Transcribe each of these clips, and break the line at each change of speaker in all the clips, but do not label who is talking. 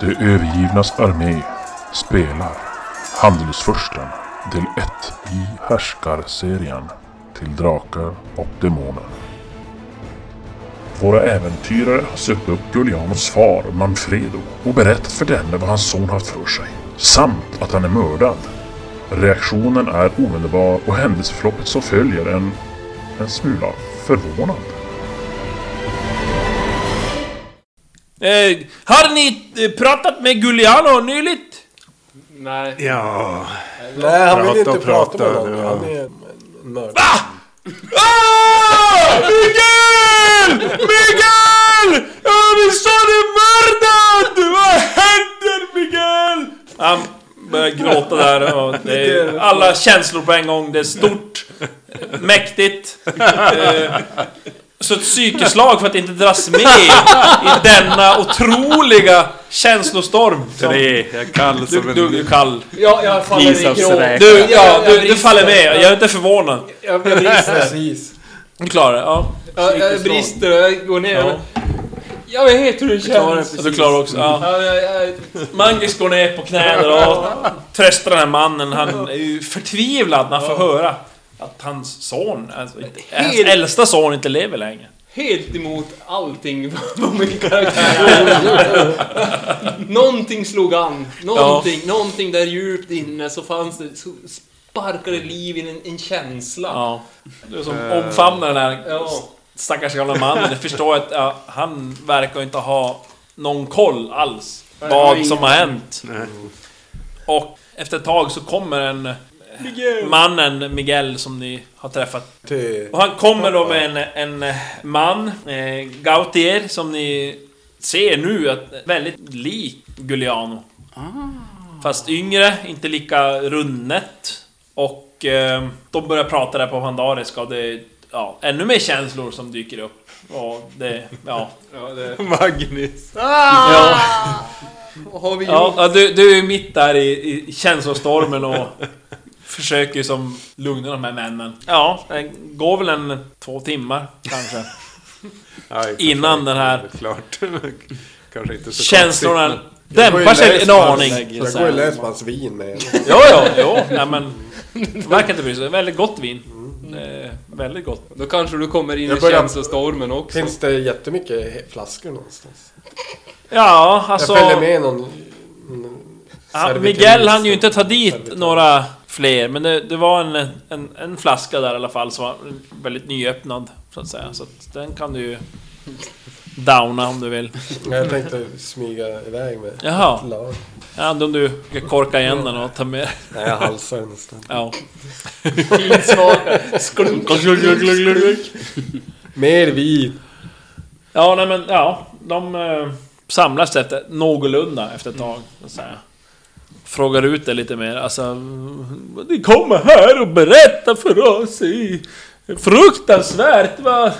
De övergivnas armé spelar Handelsfursten del 1 i Härskarserien till Drakar och Demoner. Våra äventyrare har sökt upp Gullianos far Manfredo och berättat för denne vad hans son haft för sig, samt att han är mördad. Reaktionen är omedelbar och händelseförloppet som följer en, en smula förvånad.
Eh, har ni eh, pratat med Giuliano nyligt?
Nej.
Ja,
Nej, han vill
Prata
inte
och
prata,
prata,
med någon.
ja.
Han är en en mördare.
Ah! Miguel! Miguel! Ja, min son är mördad! Vad händer Miguel? Han börjar gråta där. Och det är alla känslor på en gång. Det är stort, mäktigt. Eh, Så ett psykeslag för att inte dras med i denna otroliga känslostorm. Som
Tre. Jag är kall
du,
som en...
du, du är kall.
Ja, jag faller i
Isas
gråt.
räk.
Du, ja,
jag
du, du
brister.
faller med. Jag är inte förvånad.
Jag, jag brister.
Precis.
Du klarar det, ja.
Jag, jag brister och jag går ner.
Ja.
Jag vet hur det känns.
Ja, Du klarar också, ja.
Ja, jag, jag,
Mangis går ner på knä där och tröstar den här mannen. Han är ju förtvivlad när han får höra att hans son, alltså, inte- hans
Helt-
äldsta son, inte lever längre.
helt emot allting vad min karaktär gjorde. Någonting slog an. Någonting, någonting där djupt inne så fanns det... Så sparkade liv in en, en känsla.
Ja. Du som omfamnar den här
Ja.
stackars gamla mannen. Du förstår att ja, han verkar inte ha någon koll alls.
jag har
Vad
ingen-
som har hänt. Och efter ett tag så kommer en... eh, Mannen Miguel som ni har träffat
Till...
Och han kommer då med en, en man, eh, Gautier, som ni ser nu att är väldigt lik Giuliano. Fast yngre, inte lika rundnet. Och eh, de börjar prata där på Pandariska och det är ja, ännu mer känslor som dyker upp. Och det, ja.
Magnus.
Vad har vi
ja
gjort?
ja, du, du är mitt där i, i känslostormen och försöker ju som lugna de här männen. Ja, det går väl en två timmar kanske.
Aj,
Innan den här
kanske- Klart. Kanske inte så
känslorna
konstigt,
dämpar sig en aning. så att
Jag går ju
säga.
läs på hans vin med.
Jo, jo, jo. Nej, men, verkar inte bry sig. Väldigt gott vin. Eh, väldigt gott.
Då kanske du kommer in i
Jag börjar-
känslostormen också.
Finns det jättemycket he- flaskor någonstans?
Ja,
Jag
alltså...
följer med någon... någon
Ja,
servitris.
Miguel hann ju inte ta dit
Servitör.
några fler, men det, det var en, en, en flaska där i alla fall som var väldigt nyöppnad, så att säga. Så att den kan du ju downa om du vill.
Jag tänkte smyga iväg med
Jaha.
ett lag.
Ja, om du ska korka igen den och ta med...
Nej, jag halsar den nästan.
Ja.
Mer vin.
Ja, nej men ja. De eh, samlas efter, någorlunda efter ett tag. Så här. Frågar ut det lite mer. Alltså, mm, ni kommer här och berättar för oss i fruktansvärt vad...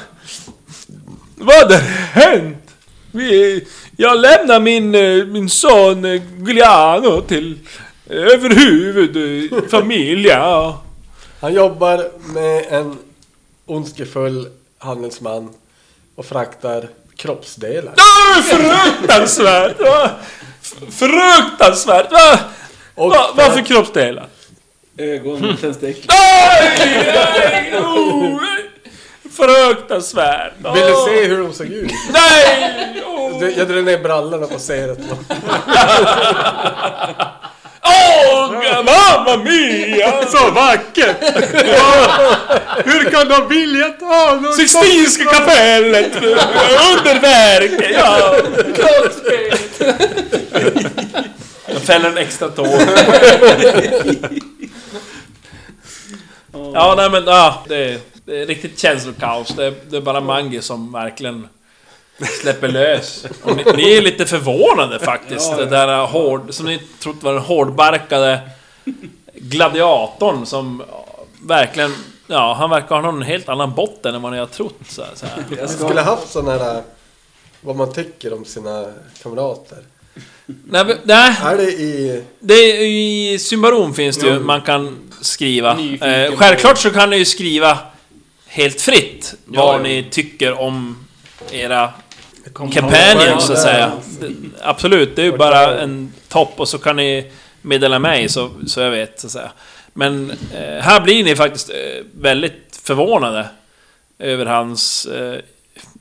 Vad har hänt? Vi, jag lämnar min, eh, min son eh, Giuliano till eh, överhuvud eh, familja.
Han jobbar med en ondskefull handelsman och fraktar kroppsdelar.
Ah, Fruktansvärt! va? Fruktansvärt! Va?
Och
Va, vad för kroppsdelar?
Ögon, tändstickor.
Nej! nej, oh, Fruktansvärt!
Vill du
Åh,
se hur de såg ut?
Nej! Åh,
Du, Jag drar ner brallorna och ser att
oh, mamma mia!
Så vackert! Hur kan de vilja ta något
Sixtinska kapellet! Underverk! Ja. Jag fäller en extra tår. Ja, nej men ja, det, är, det är riktigt känslokaos. Det är, det är bara Mangi som verkligen släpper lös. Och ni, ni är lite förvånade faktiskt. Det där hård, som ni trott var den hårdbarkade gladiatorn som ja, verkligen... Ja, han verkar ha någon helt annan botten än vad ni har trott. Så här, så här.
man skulle haft sådana här... äh, Vad man tycker om sina kamrater.
Nej, men- nej,
Är det i...
Det är, I Symbarom finns det ju, man kan skriva. Eh, självklart så kan ni ju skriva helt fritt vad ni tycker om era companion så att
Ja,
säga. Det- Absolut, det är ju bara en topp och så kan ni meddela mig så, så jag vet så att säga. Men eh, här blir ni faktiskt eh, väldigt förvånade över hans, eh,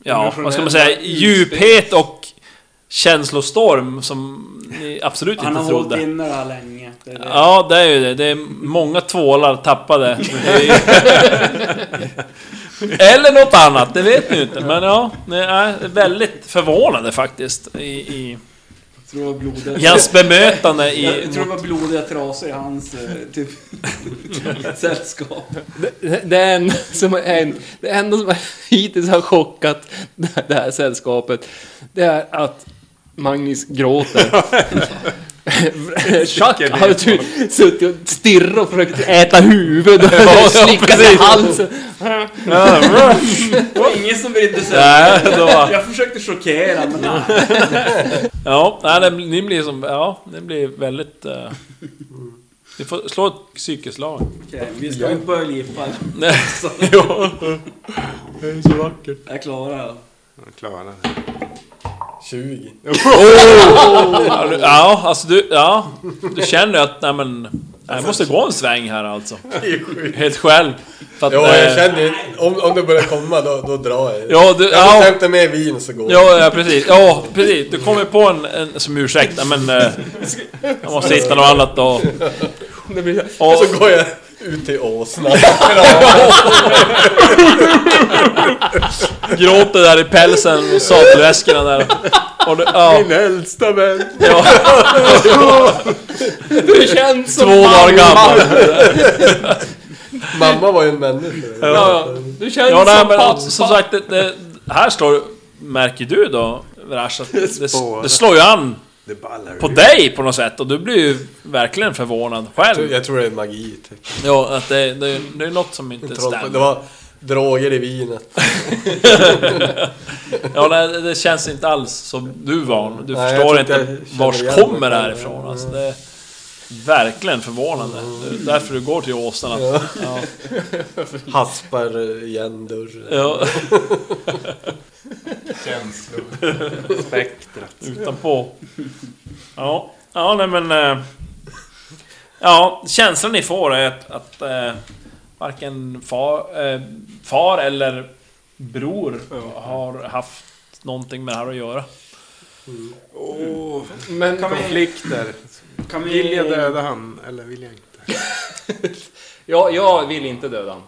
ja vad ska man säga,
Emotionella
djuphet och känslostorm som ni absolut
Han har
inte
hållit
trodde.
inne det här länge. Det är det.
Ja, det är ju det. Det är många tvålar tappade. Det är- Eller något annat, det vet ni inte. Men ja, ni är väldigt förvånade faktiskt i, i,
Jag tror det var blodiga,
i hans bemötande i...
jag tror det var blodiga trasor i hans eh, typ, sällskap.
Det- Den som har hänt, det enda som hittills har chockat det här sällskapet, det är att Magnus gråter. Chuck har ju suttit och stirrat och försökt äta huvudet och slickat i halsen.
Det var ingen som brydde sig.
Nej, det var,
Jag försökte chockera, men nej.
ja, nej, det- ni blir som... Ja, ni blir väldigt... eh, ni får slå ett psykiskt slag.
Okej, vi ska inte börja lippa.
Nej,
Jag klarar det.
Jag klarar det.
20.
ja, du- ja, alltså du... Ja, du känner ju att... Nej men... Jag måste gå en sväng här alltså. Helt själv. För att,
Ja, jag
eh,
känner ju- om, om det börjar komma då, då drar jag.
Ja, du,
Jag
ja,
måste hämta mer vin så går jag.
ja, ja, precis. Ja, precis. Du kommer på en, en som ursäkt, Nej, men... Eh, jag måste hitta något annat då.
Det blir så här,
Och,
Så går jag ut till åsnan.
gråter där i pälsen och satläskorna där. Och du, ja,
Min äldsta vän.
ja,
Du känns som
två dagar gammal.
Mamma var ju en människa.
Ja, du känns
Ja, nej,
som
men
pappa.
som sagt, det, det, här står... Märker du då, Vrash, att det, det slår ju an
Det ballar
på dig på något sätt och du blir ju verkligen förvånad själv.
Jag tror det är magi typ.
Ja, att det, det, det är något som inte
Troll- Det
stämmer.
var droger i vinet.
Ja, nej, det, det känns inte alls som du var. Du
Nej, jag
förstår
tror inte
inte
jag känner
vars
igen
kommer
mig
det här
själv.
ifrån. Alltså, det är verkligen förvånande. Det är därför du går till åsnan. att- Ja.
Haspar eh, igen dörren.
Ja,
Känslor.
utanpå. Ja, ja nej men... eh, Ja, känslan ni får är att, att eh, varken far, eh, far eller bror har haft någonting med det här att göra.
Åh,
Men
konflikter.
Kan vi...
Vill jag döda han eller vill jag inte?
ja, jag vill inte döda honom.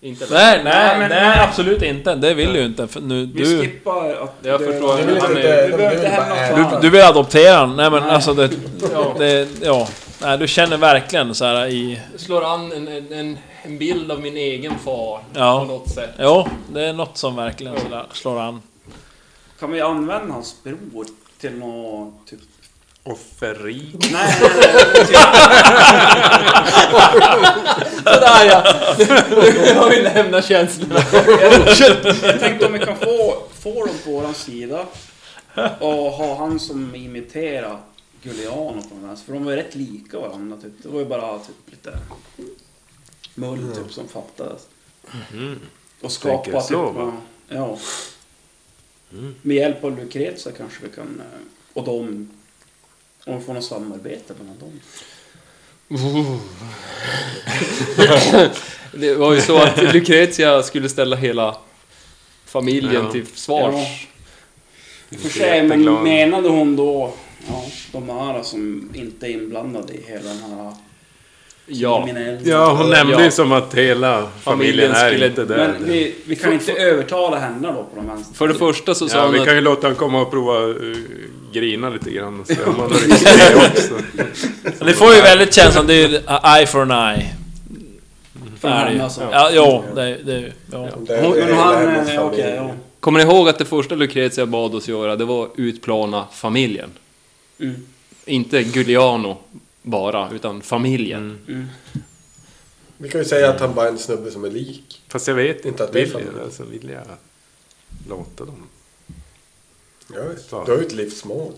Inte döda.
Nej, nej,
Nej, men-
nej, absolut inte. Det vill du inte. För nu,
Vi
du,
skippar att...
Jag förstår.
döda-
Du vill inte
Han
döda,
är-
Du
men
behöver
vill
hem
bara
något
äta.
annat.
du vill adoptera den. Nej men
Nej.
alltså det...
Ja.
det ja. Nej, du känner verkligen så här i...
slår an en, en- en, en bild av min egen far
Ja.
på något sätt.
Jo, det är något som verkligen sådär slår an.
Kan vi använda hans bror till något... Typ...
Offeri.
Nej, nej, nej. Typ,
Sådär ja! Nu har vi lämnat känslorna.
jag tänkte om vi kan få, få dem på våran sida och ha han som imiterar Gugliano på den här. För de var ju rätt lika varandra typ. Det var ju bara typ lite mull typ som fattades. Och skapa
Mhm. Tänker
typ...
så, va? Mm.
ja, Ja. Med hjälp av Lucrezia kanske vi kan... eh, Och dem... Om vi får något samarbete mellan dem.
Det var ju så att Lucrezia skulle ställa hela familjen
Ja.
till svars.
I och för sig, men menade hon då ja, de här som inte är inblandade i hela den här
Ja.
kriminella...
Ja, hon nämnde
Ja.
ju som att hela familjen,
skulle-
är inte där.
Men vi, vi kan inte övertala henne då på de vänster.
För det första så sa
Ja,
han
vi
att...
kan ju låta han komma och prova eh, grina lite grann och se om han har det också.
Ni får ju väldigt känslan, det är ju eye for an eye.
För
är det ju.
henne alltså.
Ja, jo, det, är- det är ju... Ja.
Hon, men han... eh, Okej, ja.
Kommer ni ihåg att det första Lucrezia bad oss göra, det var utplana familjen?
Mm,
Inte Giuliano bara, utan familjen.
mm.
Vi kan ju säga att han bara är en snubbe som är lik.
Fast jag vet
Inte
inte.
att
Att
det är
vill,
sant.
jag, alltså, vill jag låta dem?
Ja, visst. du
Ja.
har ju ett livsmål.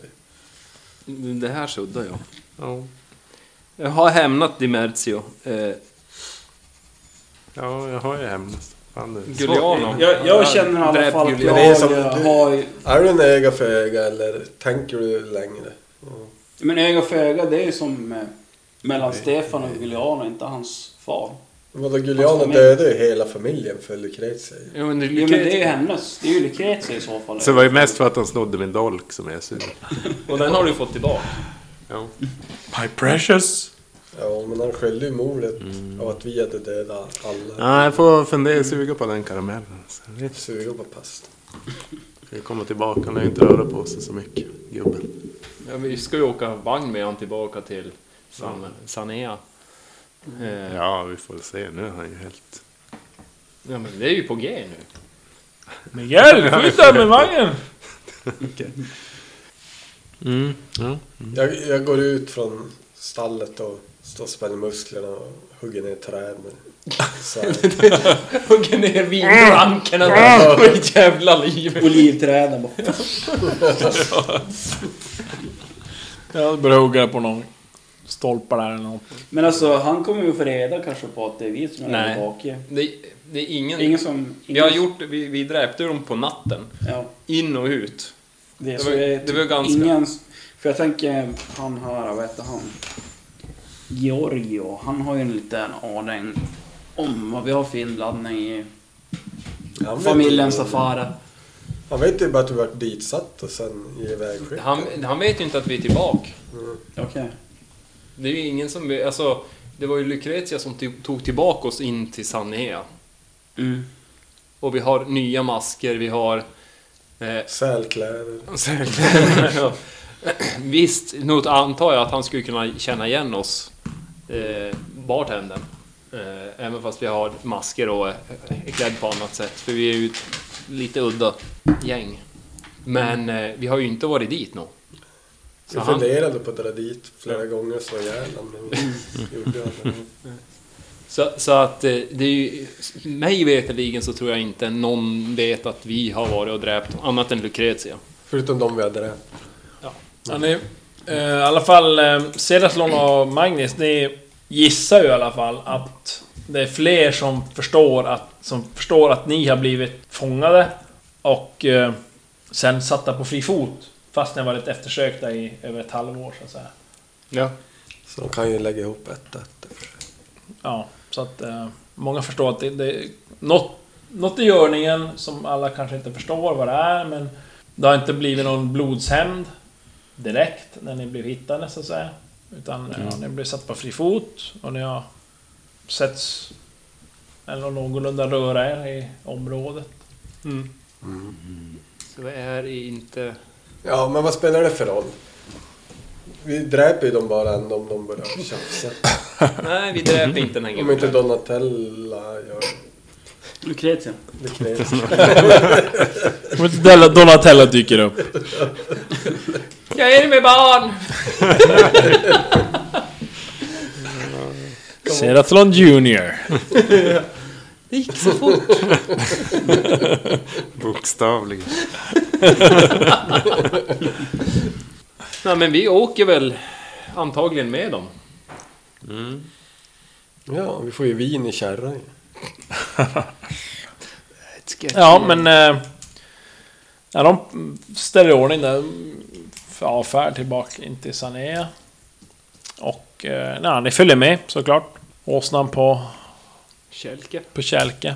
Mm. Det här suddar jag.
Ja,
Jag har hämnat Dimerzio. Eh,
ja jag har ju hämnats.
Fan, det...
Guliano.
Jag, jag känner i alla
Dräp
fall att
Julian.
Det är
jag
som-
har...
Är du en öga för öga eller tänker du längre?
Men öga för öga, det är ju som eh, mellan Stefan och Giuliano, inte hans far.
Vadå,
Hans
Giuliano
familj.
dödade ju hela familjen för Lucrezia ju.
Jo, men det,
Jo men det är ju hennes. Det är ju Lucrezia i så fall.
Så det var ju mest för att han snodde min dolk som jag sur.
Och den har du fått tillbaka.
Ja. My precious!
Ja, men han skyllde ju mordet av att vi hade dödat alla.
Ja, jag får
Mm.
fundera, suga på den karamellen. Så jag vet,
Suga på pasta.
ska jag komma tillbaka? Han har ju inte röra på sig så mycket, gubben.
Ja, vi ska ju åka vagn med honom tillbaka till San, Sanea. Eh, ja.
Ja, vi får se. Nu är han ju helt...
men det är ju på G nu.
Men hjälp! Skjuta med vagnen!
Mm, ja.
Jag, jag går ut från stallet och står och spänner musklerna och hugger ner träd med svärd.
Hugger ner vinranken och ett jävla liv.
Olivträden bara.
Jag börjar hugga på någon stolpar där eller något.
Men alltså han kommer ju få reda kanske på att det är vi som är
Nej.
tillbaka.
Det, det är ingen...
Ingen som... Ingen,
Vi har gjort... Vi, vi dräpte dem på natten.
Ja.
In och ut.
Det,
Det
så
var-
jag-
det var ganska-
Ingen, för jag tänker han här, vad heter han? Georgio, han har ju en liten aning om vad vi har för inblandning i
Han vet-
familjens affärer.
Han vet ju bara att du vart ditsatt och sen i vägskydd.
Han, han vet ju inte att vi är tillbaka.
Mm.
Okej.
Det är ju ingen som... Alltså, det var ju Lucrezia som tog- tog tillbaka oss in till Sanea.
Mm.
Och vi har nya masker, vi har... Eh,
Sälkläder.
Ja. Visst, nog antar jag att han skulle kunna känna igen oss, eh, bartendern. Eh, även fast vi har masker och är är klädd på annat sätt. För vi är ju ett lite udda gäng. Men eh, vi har ju inte varit dit nog. Så
Jag
han-
funderade på att dra dit flera gånger och slå ihjäl honom. men gjorde aldrig det.
Så, så att eh, det är ju, mig veterligen så tror jag inte någon vet att vi har varit och dräpt annat än Lucrezia.
Förutom de vi hade dräpt.
Ja, ni, eh, I alla fall, eh, Cederslon och Magnus, ni gissar ju i alla fall att det är fler som förstår att, som förstår att ni har blivit fångade och eh, sen satta på fri fot. Fast ni har varit eftersökta i över ett halvår så att säga.
Ja.
Så de kan ju lägga ihop ett och ett.
Ja, så att eh, många förstår att det, det något, något i görningen som alla kanske inte förstår vad det är, men det har inte blivit någon blodshämnd direkt när ni blev hittade så att säga. Utan ja, ni blev satt på fri fot och ni har setts eller någorlunda röra er i området.
Så det är inte...
Ja, men vad spelar det för roll? Vi dräper ju dem bara ändå om de börjar tjafsa.
Nej, vi dräper inte den här
Om inte
gubben.
Donatella gör
Lucrezia.
det. knepigt.
Om inte Donatella dyker upp.
Jag är med barn!
Seratlon Junior.
Det gick så fort.
Bokstavligen.
Nej men vi åker väl antagligen med dem.
Ja, vi får ju vin i kärran ju.
Ja, men... Eh, ja, de ställer i ordning där. för Avfärd tillbaka in till Sanea. Och... Eh, nej, ni följer med såklart. Åsnan på,
Kälke.
på kälke.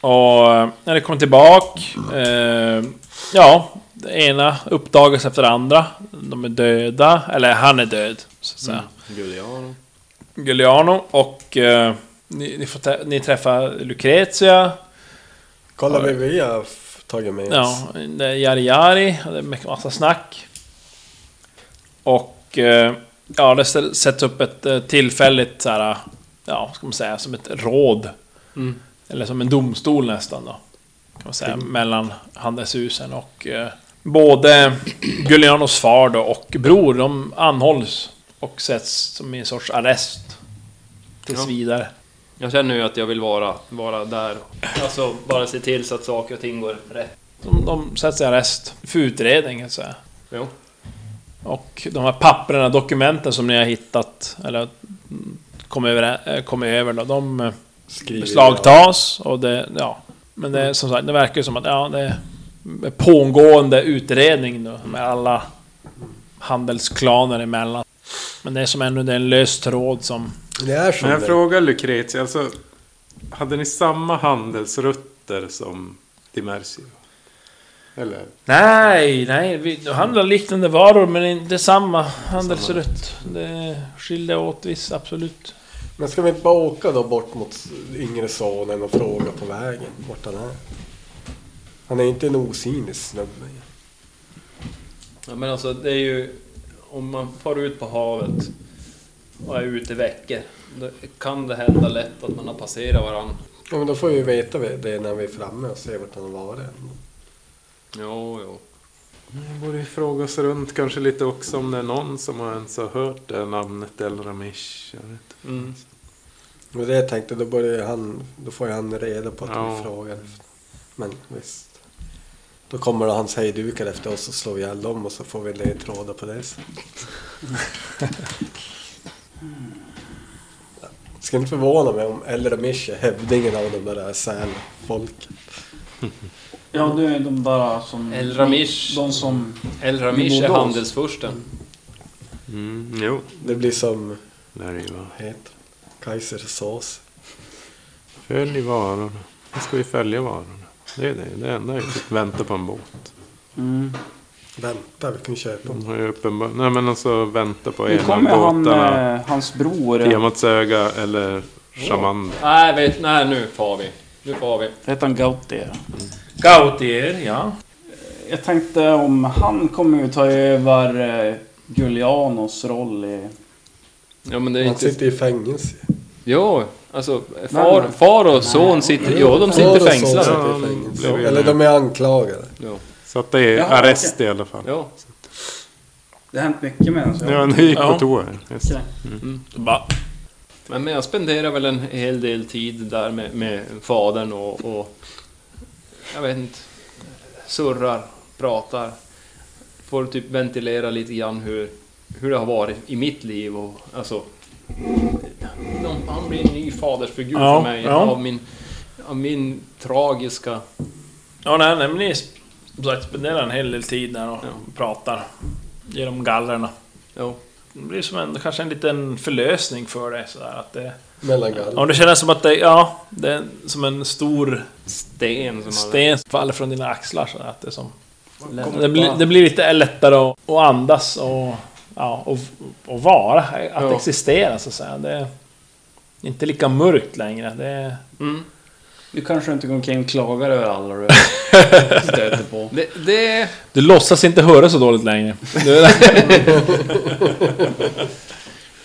Och eh, när det kommer tillbak... Eh, ja, det ena uppdagas efter det andra. De är döda. Eller han är död, så att säga.
Guliano.
Giuliano och... Eh, ni, ni, får tä- ni träffar Lucrezia.
Kolla vad vi har f- tagit med oss.
Ja, det är Jari Jari, och det är mycket- massa snack. Och... eh, Ja, det ställ- sätts upp ett eh, tillfälligt så här, Ja, ska man säga, som ett råd. Eller som en domstol nästan då. Kan man säga, mellan handelshusen och... eh, Både Giulianos far då och bror, de anhålls. Och sätts som i en sorts arrest. Tills
Ja.
vidare.
Jag känner ju att jag vill vara, vara där. Alltså bara se till så att saker och ting går rätt.
De, de sätts i arrest för utredning, kan jag säga.
Jo.
Och de här papperna, dokumenten som ni har hittat, eller mm, kom över, eh, kom över då, de eh,
Skriver
beslagtas och det, ja. Men det är som sagt, det verkar ju som att ja, det är pågående utredning då, med alla handelsklaner emellan. Men det är som ändå det är en lös tråd som...
Det är som
Men jag
det.
frågar Lucrezia, alltså, hade ni samma handelsrutter som Dimersio? Eller?
Nej, nej, vi handlar liknande varor men inte samma handelsrutt. Det skiljer åt visst, absolut.
Men ska vi inte bara åka då bort mot yngre sonen och fråga på vägen vart han är? Han är inte en osynlig snubbe.
Ja, men alltså det är ju... Om man far ut på havet och är ute i veckor. Då kan det hända lätt att man har passerat varandra.
Ja, men då får vi veta det när vi är framme och ser vart han har varit.
Jo, jo.
Vi borde ju fråga oss runt kanske lite också om det är någon som har ens har hört det namnet El Ramish. Jag vet inte.
Mm.
Och det jag tänkte, då, börjar han, då får ju han reda på att
Ja.
vi frågar. Men visst. Då kommer hans hejdukar efter oss och slår ihjäl dem och så får vi ledtrådar på det sen. Ska inte förvåna mig om El Ramish är hövdingen av de där sälfolk.
Ja, det är de där som...
El Ramish.
De som...
El Ramish är
Modos.
handelsfursten.
Mm, jo,
Det blir som,
det är det ju. va.
vad heter det? Kaisersås.
Följ varorna. Nu ska vi följa varorna. Det är det, det enda är typ vänta på en båt.
Mm.
Vänta, vi kan köpa
De
dem.
har ju uppenbar... Nej men alltså vänta på
Nu
en av
kommer han,
båtarna.
eh, hans bror. eh,
Tiamats öga eller Shaman.
Nej, vet, nej, nu far vi. Nu far vi.
Heter han Gautier?
Gautier, ja.
Jag tänkte om han kommer ju ta över eh, Giulianos roll i...
Ja, men det är
Han
inte...
sitter i fängelse.
Jo, alltså
Nej,
far,
nej.
far och son sitter... Jo, de
Far
sitter
och son
fängslade.
sitter i
Ja, de
fängelse.
blev ju-
Eller de är anklagade.
Jo,
Så att det är
Jaha,
arrest i alla fall.
jo.
Det har hänt mycket med den. så jag-
Ja, nu gick
Ja.
på toa. här. Just.
Okej.
Bara,
Men, men jag spenderar väl en hel del tid där med, med fadern och, och... Jag vet inte. Surrar, pratar. Får typ ventilera lite grann hur, hur det har varit i mitt liv och alltså... de- Han blir en ny fadersfigur
Ja,
för mig
ja.
av, min, av min tragiska...
Ja, nej, nej, men ni sp- som sagt spenderar en hel del tid där och pratar genom gallerna.
Jo.
Det blir som en, kanske en liten förlösning för dig sådär att det...
Mellangall.
Ja, det känns som att det, ja, det är som en stor
Sten som han...
sten som faller från dina axlar sådär att det är som... Det blir, det blir lite lättare att, att andas och... Ja, och, och vara, att
Ja.
existera så att säga. Det är inte lika mörkt längre. Det är,
Mm.
Du kanske inte går omkring och klagar över alla du stöter på.
Det, det...
du låtsas inte höra så dåligt längre.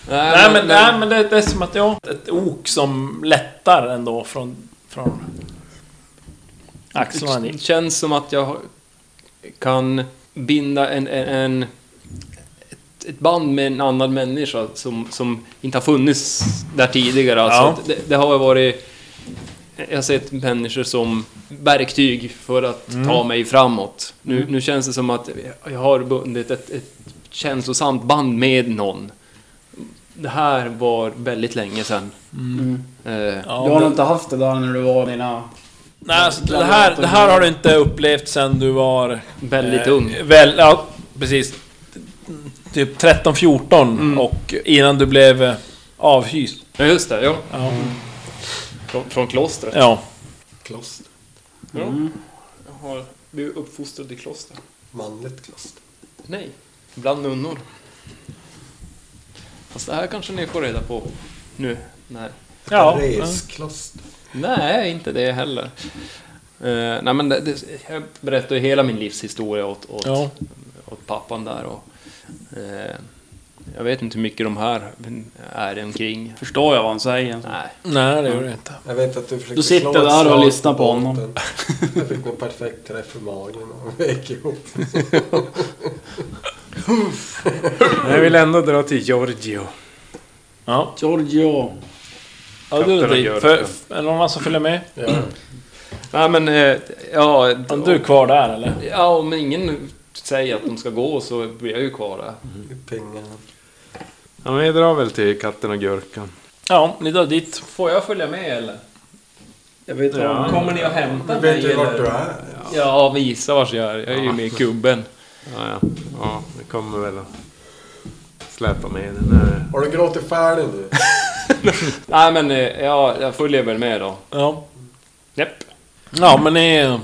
Nej men, nej, men det, det är som att jag... Ett ok som lättar ändå från... från axlarna
Det
dit.
känns som att jag kan binda en, en, en, ett, ett band med en annan människa som, som inte har funnits där tidigare. Alltså
Ja.
att det, det har varit... Jag har sett människor som verktyg för att
Mm.
ta mig framåt. Nu, nu känns det som att jag har bundit ett, ett känslosamt band med någon. Det här var väldigt länge sedan.
Mm.
Eh,
Ja,
du har
det-
nog inte haft det där när du var dina...
Nej, alltså, det, här, det här har du inte upplevt sen du var...
Väldigt
eh,
ung.
Väl, ja, precis. Typ 13-14
Mm.
och innan du blev eh, avhyst.
Ja, just det. Ja.
Ja.
Från, från klostret.
ja.
Kloster.
Mm.
Jag har blivit uppfostrad i kloster.
Manligt kloster.
Nej, bland nunnor. Fast det här kanske ni får reda på nu. Nej,
ja.
Reskloster.
nej inte det heller. Eh, nej, men det, det, jag berättade ju hela min livshistoria åt, åt,
Ja.
åt pappan där. Och, eh, jag vet inte hur mycket de här är omkring.
Förstår jag vad han säger?
Nej.
Nej, det gör det inte.
Jag vet att du försökte
Då sitter
slå
jag
ett
där och
slag
lyssnar på
båten.
honom.
Jag fick en perfekt träff i magen och vek ihop.
Jag vill ändå dra till Giorgio.
Ja.
Giorgio.
ja du,
Katterna
du,
gör
för,
det.
är det någon annan som följer med?
Ja.
nej, men eh, ja...
Är du kvar där eller?
Ja, om ingen säger att de ska gå så blir jag ju kvar där.
Pengarna.
Ja, men vi drar väl till katten och gurkan.
Ja, ni drar dit.
Får jag följa med eller?
Jag vet inte om...
Kommer ni och hämtar
Vet
mig
du vart du
eller?
är?
Ja, vi gissar vart jag är. Jag är ju med i gubben.
Ja, ja. ja, vi kommer väl att släpa med den här.
Har du gråtit färdigt nu?
Nej men eh, ja, jag följer väl med då.
Ja.
Japp.
Ja men ni...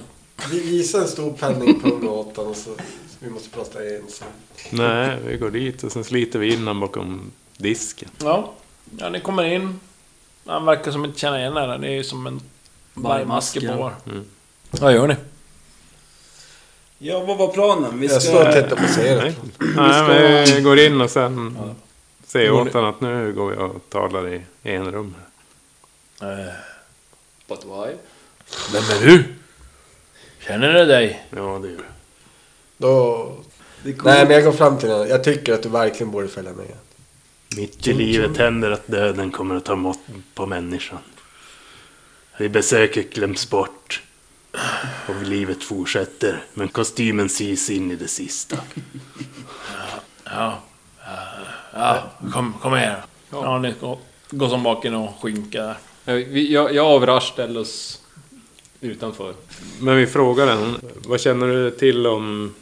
Vi visar en stor penningpung åt honom och så vi måste prata ensam.
Nej, vi går dit och sen sliter vi in honom bakom disken.
Ja. Ja ni kommer in. Han verkar som inte känna igen er. Ni är ju som en vargmaske på er. Vad gör ni?
Ja, vad var planen? Vi
Jag står och
ska...
tittar på serien.
Nej, men vi går in och sen säger åt honom att nu går vi och talar i enrum.
But why?
Vem är du? Känner du dig?
Ja, det gör vi.
Då... Nej, men jag går fram till honom. Jag tycker att du verkligen borde följa med.
Mitt i livet händer att döden kommer att ta mått på människan. Vi besöker glöms bort. Och livet fortsätter. Men kostymen sys in i det sista.
Ja, kom, kom här. Ja, ni går, går som baken och skinka där.
Ja, Eh, vi- Jag, jag avrar Stellus utanför.
Men vi frågar den. Vad känner du till om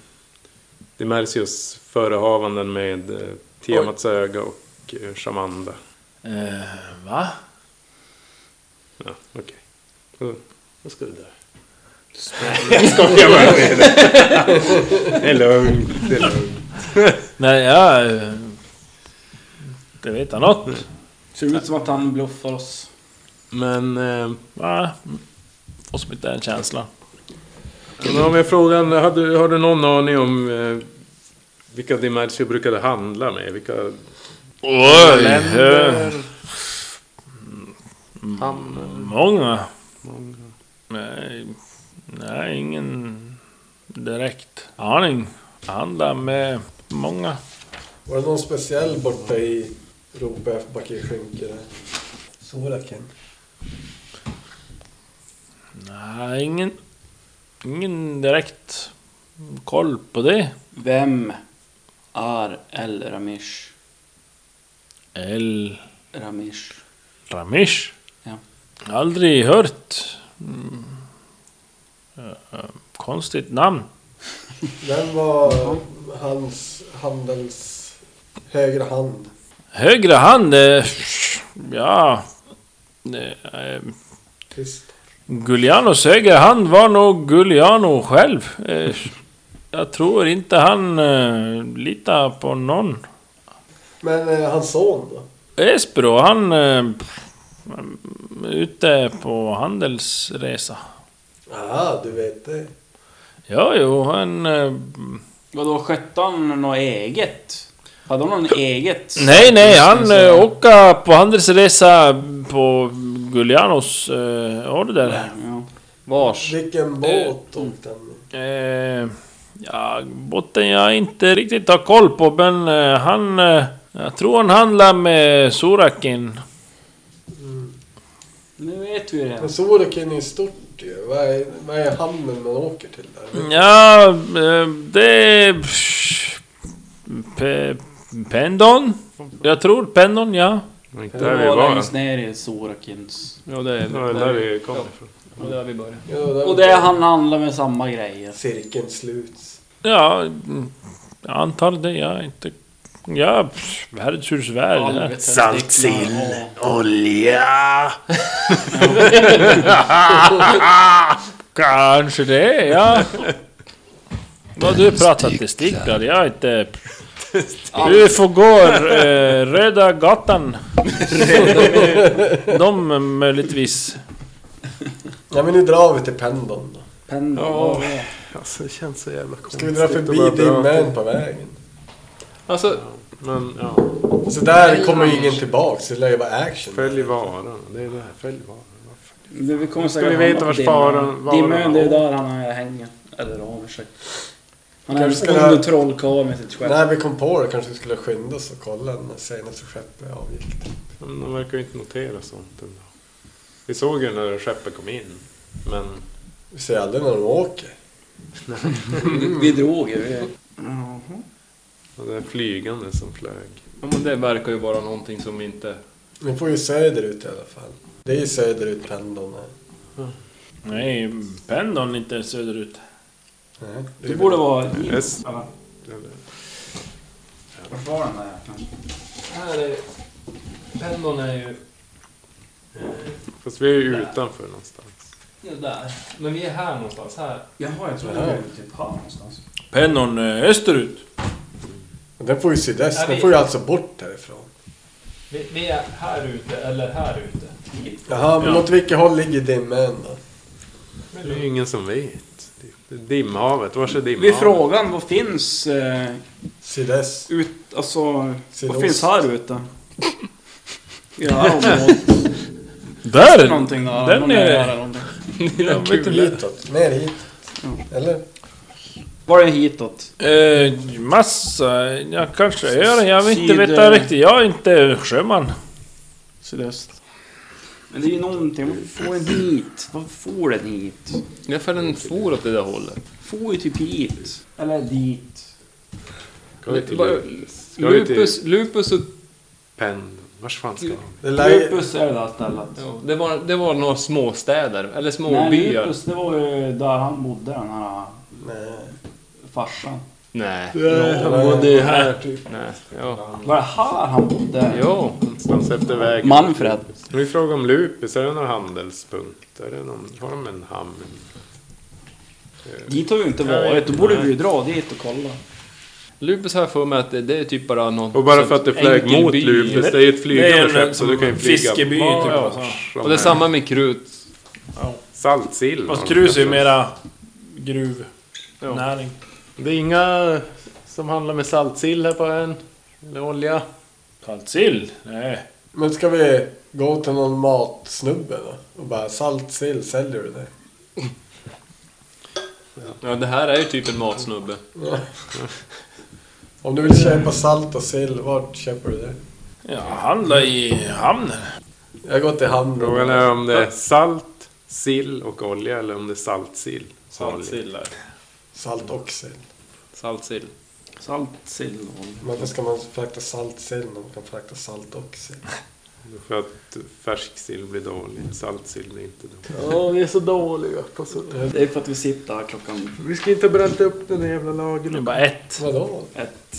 Dimersios förehavanden med eh, Tiamats öga och eh, Shamanda?
Eh, va?
Ja, okej. Okay. Vad ska du där? Jag skojar bara med dig. Det är lugnt, det är lugnt.
Nej, jag... eh, Det vet jag något.
Ser ut som att han bluffar oss.
Men eh,
Va? Får som inte den känslan.
men om jag frågar, har du, har du någon aning om eh, vilka Dimersio brukade handla med? Vilka
Oj!
länder?
Många. Nej, nej, ingen direkt aning. Handlar med många.
Var det någon speciell borta i Rope, Backe, Skynke? Soraken?
Nej, ingen... Ingen direkt koll på det.
Vem är El Ramish?
El
Ramish.
Ramish?
Ja.
Aldrig hört. Mm. Eh, eh, Konstigt namn.
Vem var hans handels... Högra hand?
Högra hand, eh, ja... Eh,
Visst.
Gullianos högra hand var nog Gulliano själv. Eh, jag tror inte han eh, litar på någon.
Men eh, hans son då?
Espero, han... Eh, är ute på handelsresa.
Ja, Ah, du vet det.
Ja, jo, han... Eh,
Vadå, skötte han något eget? Hade han något eget?
nej, nej, han
Så-
eh, åker på handelsresa på Gullianos eh, order.
Ja.
Vars?
Eh,
Vilken
mm.
båt åkte han med?
Eh, ja, botten jag inte riktigt har koll på, men eh, han... Eh, jag tror han handlar med Sorakin.
Nu vet vi det.
Men Soraken är ju stort ju. Vad är, vad är hamnen man åker till där?
Mm.
Ja, eh, det... pff, Pe, pendon? Jag tror Pendon, ja.
Inte
Det
där vi
var
var.
längst ner i Sorakins.
Ja, det är
Det var där vi kom ifrån.
Ja, där vi börjar.
Ja, där
Och det är han handlar med samma grejer.
Cirkeln sluts.
Ja, mm, jag antar det. Jag är inte... Ja, pff, världshus värld.
Alvet.
Saltsill. Olja.
Kanske det, ja. Vad du pratar testiklar, jag är inte... Du får gå eh, Röda gatan. De är möjligtvis...
Ja men nu drar vi till Pendon då.
Pendel.
Ja.
vad är det?
Alltså det känns så jävla konstigt.
Ska vi dra
att bara
förbi
dra
dimmen på vägen?
Alltså,
Men ja,
Så där kommer ju ingen tillbaks. så Det lär ju vara action.
följ varan. Det är det här, följ varan.
Det- Vi kommer
vi
hamna
veta
på
vars
Dimön.
faran- var-
Dimön, det är där han hänger. Eller har sig. Han är
Kanske
en
ska-
ond trollkarl med sitt skepp.
När vi kom på det kanske vi skulle skynda oss och kolla när senaste skeppet avgick.
Men de verkar ju inte notera sånt ändå. Vi såg ju när skeppet kom in. Men
Vi ser aldrig när de åker.
Vi drog ju. vi-
det där flygande som flög.
ja, men det verkar ju vara någonting som inte...
Vi får ju söderut i alla fall. Det är ju söderut Pendon är.
Nej, Pendon är inte söderut.
Nej.
Mm. Du borde vara...
Yes.
Vart var den där jäkeln?
Här är... Pendon är ju...
Fast vi är ju utanför någonstans.
ja, Där. Men vi är här någonstans. Här.
Jaha, jag trodde det var typ här någonstans.
Pendon eh, österut.
Den får ju sydväst,
Nej,
den
vi-
får ju alltså bort härifrån.
Vi, vi är här ute eller här ute.
Jaha, men åt vilket håll ligger dimmen då?
Det är ju ingen som vet. Det är Dimhavet. Var
Vi
är dimhavet?
frågan, vad finns eh,
Sydväst?
ut... Alltså,
Sydost.
vad finns här ute? I det här området?
Där!
Någonting där.
Den
någon
är-
är... Där, någonting.
Ja, vet inte.
Hitåt? Ner hit? Eller?
Var är hitåt?
Eh, massa... Ja, kanske är det. Jag vet inte
Syd-
veta riktigt. Jag är inte sjöman.
Sydöst. Men det är ju någonting. Varför får den hit? Varför får den hit?
Ja, för den for åt det där hållet.
Får ju typ hit. Eller dit.
Ska vi till
Bara-
Ska vi
Lupus,
till
Lupus och...
Penn? Vars fan ska han?
Det lär ju...
Lupus är det där stället.
Ja, det, var, det var några småstäder, eller
Nej,
småbyar.
Lupus, det var ju där han bodde, den här
Nej.
farsan.
Nej,
Han bodde här typ.
nej. Ja.
Var det här han bodde?
Jo.
Någonstans efter vägen.
Manfred.
Vi frågar om Lupus. Är det någon handelspunkt? Är det någon, har de en hamn?
Dit har vi inte varit. Då borde vi ju dra dit och kolla.
Lupus har jag för mig att det, det är typ bara någon...
Och bara för att det flög
enkel
mot
by.
Lupus. Det är eh, ju ett
Det är
flygande
en
skepp så du kan ju flyga
fiskeby,
var
typ, och så.
som
Och det är samma med krut.
Saltsill.
Fast grus är ju mera gruvnäring.
Det är inga som handlar med saltsill här på ön. Eller olja.
Kallt sill? Nej.
Men ska vi gå till någon matsnubbe då? Och bara salt sill, säljer du det?
Ja, det här är ju typ en matsnubbe.
Om du vill köpa salt och sill, vart köper du det?
Ja, handla i hamnen.
Jag går till hamnen.
Frågan är om det är salt, sill och olja eller om det är saltsill.
Saltsill.
Salt och sill.
Saltsill.
Salt, sill och...
Men Varför ska man frakta salt sill när man kan frakta salt och sill?
För att färsk sill blir dålig. Saltsill blir inte dålig.
Ja, vi är så dåliga på sånt.
Det är för att vi sitter här klockan
Vi ska inte bränna upp den jävla lagen.
Det är bara ett.
Vadå?
ett.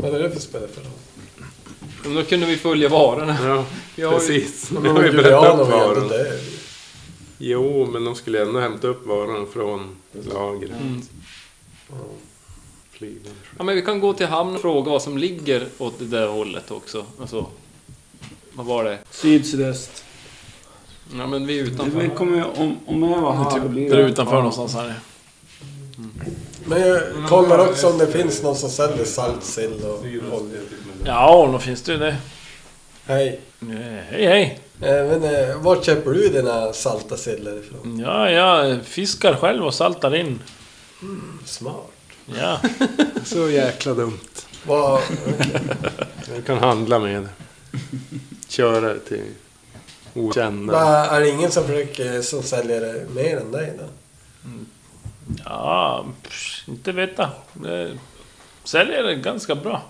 Vad är det för spel för roll?
Men då kunde vi följa varorna.
Ja,
Jag har ju-
precis.
Men
Vi har ju brännt
Juliana
upp
var ju ändå
varorna.
död.
Jo, men de skulle ändå hämta upp varorna från lagret. Flygen.
Ja, men vi kan gå till hamn och fråga vad som ligger åt det där hållet också. Alltså, vad var det?
Syd, sydöst.
Ja, men vi är
Vi
utanför.
kommer ju... Om, om jag var här... då blir
Där
det-
utanför någonstans här.
Men jag kollar också om det finns någon som säljer salt, sill och olja.
Ja, då finns det ju det.
Hej.
Eh, Hej, hej.
Eh, Men eh, vart köper du dina salta sillar ifrån?
Ja, jag fiskar själv och saltar in.
Smart.
Ja.
Så jäkla dumt.
Vad...
Jag kan handla med det. Köra det till okända.
vad- Är det ingen som försöker som säljer det mer än dig då?
Ja, pff, inte veta. Det säljer det ganska bra.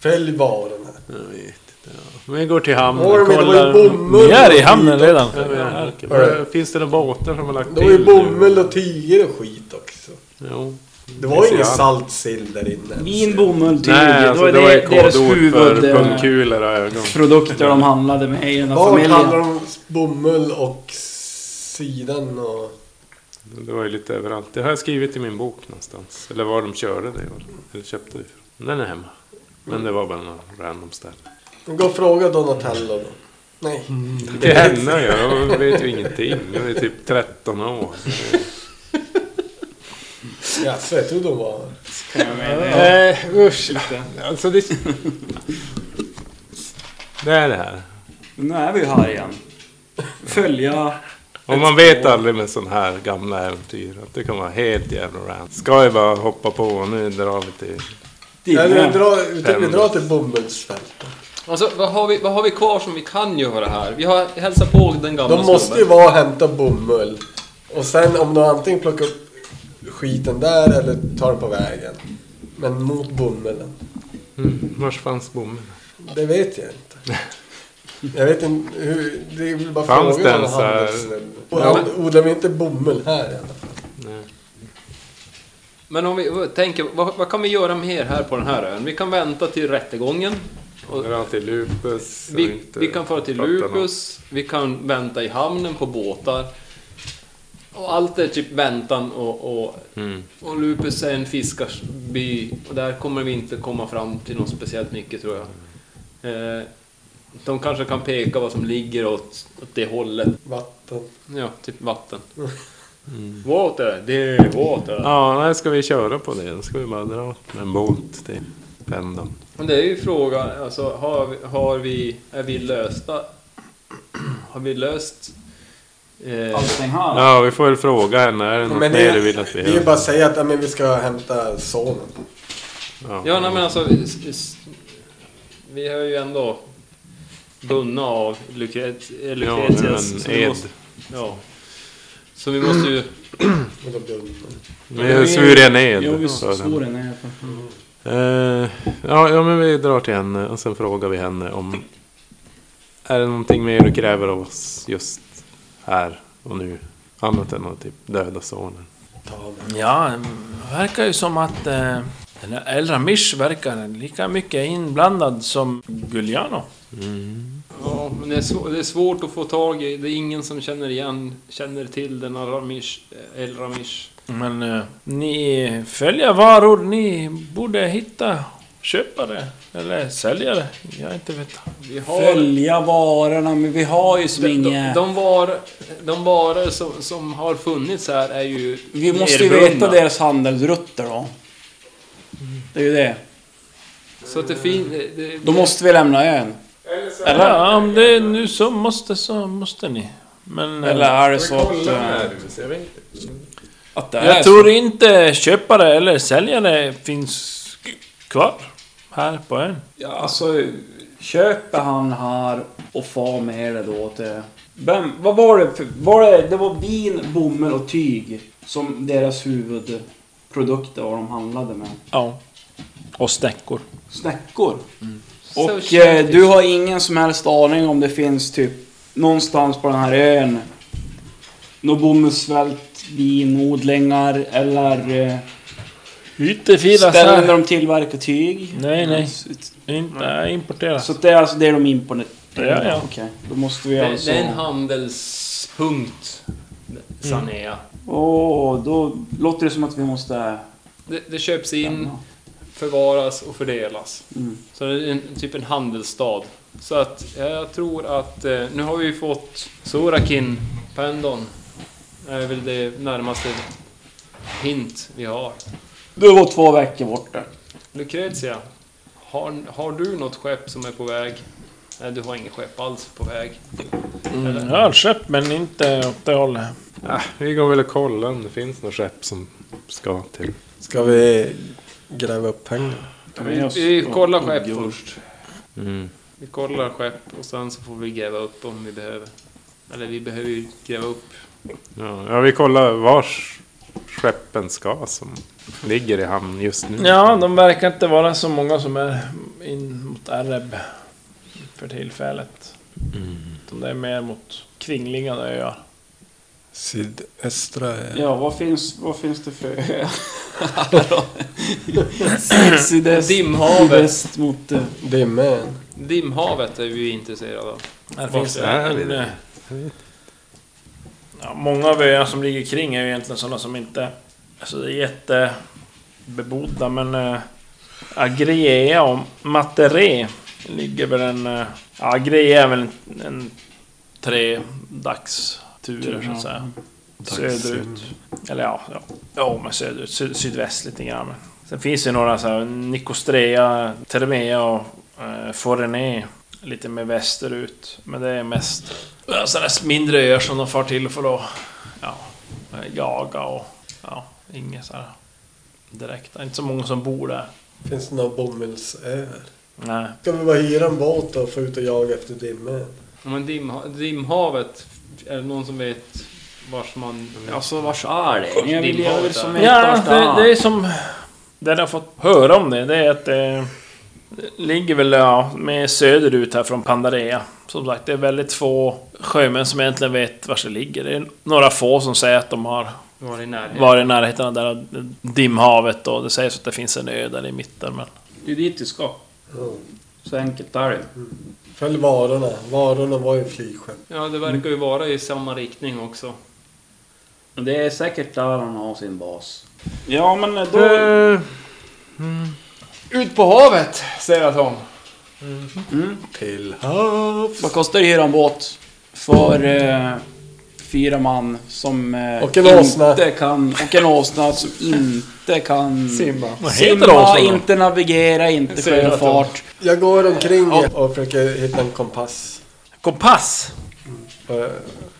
Följ varorna.
Mm,
Jag vet inte. Ja. Men vi går till hamnen
Åh,
och
men det var ju
kollar.
bomull
Ni är i
och
hamnen
skit
redan.
Ja, men jag- okej.
Hörru.
Finns det några båtar som har lagt
också.
till?
Det var ju bomull och tyger och skit också.
Jo.
Det var ju ingen
Ja.
salt sill där inne.
Vin, bomull, tyg.
Nej, alltså, det, var ju
deras
kodord för
huvudprodukter
pungkulor och ögon.
de handlade med i den här
Vad handlar
familjen.
om bomull och sidan och...
Det var ju lite överallt. Det har jag skrivit i min bok någonstans. Eller var de körde det. var det. Eller köpte det ifrån. Den är hemma. Men det var bara någon random ställe.
Gå och fråga Donatello då. Nej.
Det är henne jag. Jag vet ju ingenting. Jag är typ 13 år.
Jaså, jag trodde hon var...
Nej, Eh, usch. Alltså det... Det är det här.
Nu är vi ju här igen. Följa...
Och man vet aldrig med sån här gamla äventyr att det kan vara helt jävla random. Ska jag bara hoppa på och nu drar vi till...
Eller
Dina.
dra, utan vi drar till bomullsfälten.
Alltså, vad har, vi, vad har vi kvar som vi kan göra här? Vi har hälsat på den gamla
De måste ju
snubben.
vara och hämta bomull. Och sen om de antingen plockar upp skiten där eller tar den på vägen. Men mot bomullen.
Mm, vars fanns bommen?
Det vet jag inte. Jag vet inte hur... Det är väl bara
Fanns
frågan
det
om
ens, äh,
handelsnämnden. Och han odlar vi inte bomull här i alla fall?
Men om vi tänker, vad, vad kan vi göra mer här på den här ön? Vi kan vänta till rättegången. Och
Är det alltid Lupus? och
vi,
inte
vi kan fara till
fatta
Lupus, vi kan vänta i hamnen på båtar. Och allt är typ väntan och, och, och Lupus är en fiskarby och där kommer vi inte komma fram till något speciellt mycket tror jag. Eh, de kanske kan peka vad som ligger åt, åt det hållet.
Vatten.
Ja, typ vatten. Water, det är water.
Ja, nej, ska vi köra på det? Då ska vi bara dra med en bolt till pendeln.
Men det är ju frågan, alltså har vi, har vi är vi lösta? Har vi löst... Eh,
Allting här.
Ja, vi får väl fråga henne. Är det något
Men det
mer
är,
du vill att vi
det är ju
gör?
bara att säga att ja, men vi ska hämta sonen.
ja, nej men alltså... vi- s- s- Vi har ju ändå bundna av Lucret- eh,
Ja,
Lucretias. så
men
vi
ed.
måste- Ja. Så vi måste ju...
Och då blir
Vi svor en ed.
Jo, vi
för henne.
svor den ner.
Eh, ja, ja, men vi drar till henne och sen frågar vi henne om... Är det någonting mer du kräver av oss just här och nu? Annat än att typ döda sonen.
Ja, det verkar ju som att eh, den här Elra Mish verkar lika mycket inblandad som Giuliano.
Ja, men det är, svå- det är svårt att få tag i. Det är ingen som känner igen, känner till den här Ramish, El Ramish.
Men eh, ni följer varor, ni borde hitta köpare eller säljare. Jag inte vet.
Vi har
Följa varorna, men vi har ju som
De, de,
inget...
de, var, de varor som, som har funnits här är ju...
Vi måste ju
nedbrunna.
veta deras handelsrutter då. Det är ju det.
Så att det finns... Det,
Då måste vi lämna ön. Eller,
Ja, om det är nu så måste så måste ni. Men eh,
eller är det så att... eh, Att det är
jag tror inte köpare eller säljare finns kvar här på ön.
Ja, alltså, köper han här och far med det då till... Vem, vad var det för, var det, det var bin, bomull och tyg som deras huvudprodukter var de handlade med.
Ja. Och snäckor.
Snäckor. Och
Så
eh, du har ingen som helst aning om det finns typ någonstans på den här ön någon bomullsvält, binodlingar eller eh,
Inte firas
ställen där
här.
de tillverkar tyg.
Nej, nej.
Så,
Inte importeras.
så det är alltså det de importerar?
Ja, ja.
Okej, då måste vi
det,
alltså...
det är en handelspunkt, Sanea.
Mm. Åh, då låter det som att vi måste...
Det, det köps in, förvaras och fördelas.
Mm.
Så det är en, typ en handelsstad. Så att jag tror att... Eh, nu har vi ju fått Sorakin, Pendon. är väl det närmaste hint vi har.
Du var två veckor borta.
Lucretia, har, har du något skepp som är på väg? Nej, du har inget skepp alls på väg.
Mm, jag har köpt men inte åt det hållet.
Ah, vi går väl och kollar om det finns något skepp som ska till.
Ska vi gräva upp pengar?
Vi, vi kollar skepp först. Vi kollar skepp och sen så får vi gräva upp om vi behöver. Eller vi behöver ju gräva upp.
Ja, ja, vi kollar vars skeppen ska som ligger i hamn just nu.
Ja, de verkar inte vara så många som är in mot Arab för tillfället. Utan det är mer mot kringliggande öar.
Sydöstra... eh,
Ja, vad finns, vad finns det för Syd- Sydöst.
Dimhavet.
Sydväst mot... eh,
Dimmen.
Dimhavet är vi intresserade av.
Här finns det
är vi
en,
det?
eh, ja, Många av öarna som ligger kring är ju egentligen sådana som inte... Alltså det är jättebebodda men... Äh, Agrea och Materé ligger väl en... Äh, Agrea är väl en, en tre dagsturer så att säga. Söderut. Eller ja, ja. Ja, men söderut. Syd, sydväst lite grann. Men. Sen finns det ju några så här, Nicostrea, Termea och eh, Forené. Lite mer västerut. Men det är mest eh, sådana här mindre öar som de far till för att ja, eh, jaga och... Ja, inget så här direkt. Det är inte så många som bor där.
Finns det några bomullsöar?
Nej.
Ska vi bara hyra en båt och få ut och jaga efter dimmen?
Ja, Men dimha- dimhavet, är det någon som vet vars man...
Alltså, vars är det? Jag vill
Dimhavet
ju
där.
som
Ja, det, det är som... Det jag har fått höra om det, det är att det ligger väl ja, med söderut här från Pandarea. Som sagt, det är väldigt få sjömän som egentligen vet var det ligger. Det är några få som säger att de har
Var i närheten.
varit i närheten av det där dimhavet och det sägs att det finns en ö där i mitten. Men
Det är dit du ska. Så enkelt är det.
Följ varorna. Varorna var ju flygskepp.
Ja, det verkar ju vara i samma riktning också.
Men Det är säkert där han har sin bas. Ja, men då...
Ut på havet, säger Tom.
Till havs.
Vad kostar det att hyra en båt? För eh, fyra man som eh,
Och en åsna.
inte kan... Och en åsna som inte kan...
Simba.
vad heter
Simma,
de
inte navigera, inte
Ser jag
sjöfart.
Jag går omkring och försöker hitta en kompass.
Kompass!
Eh,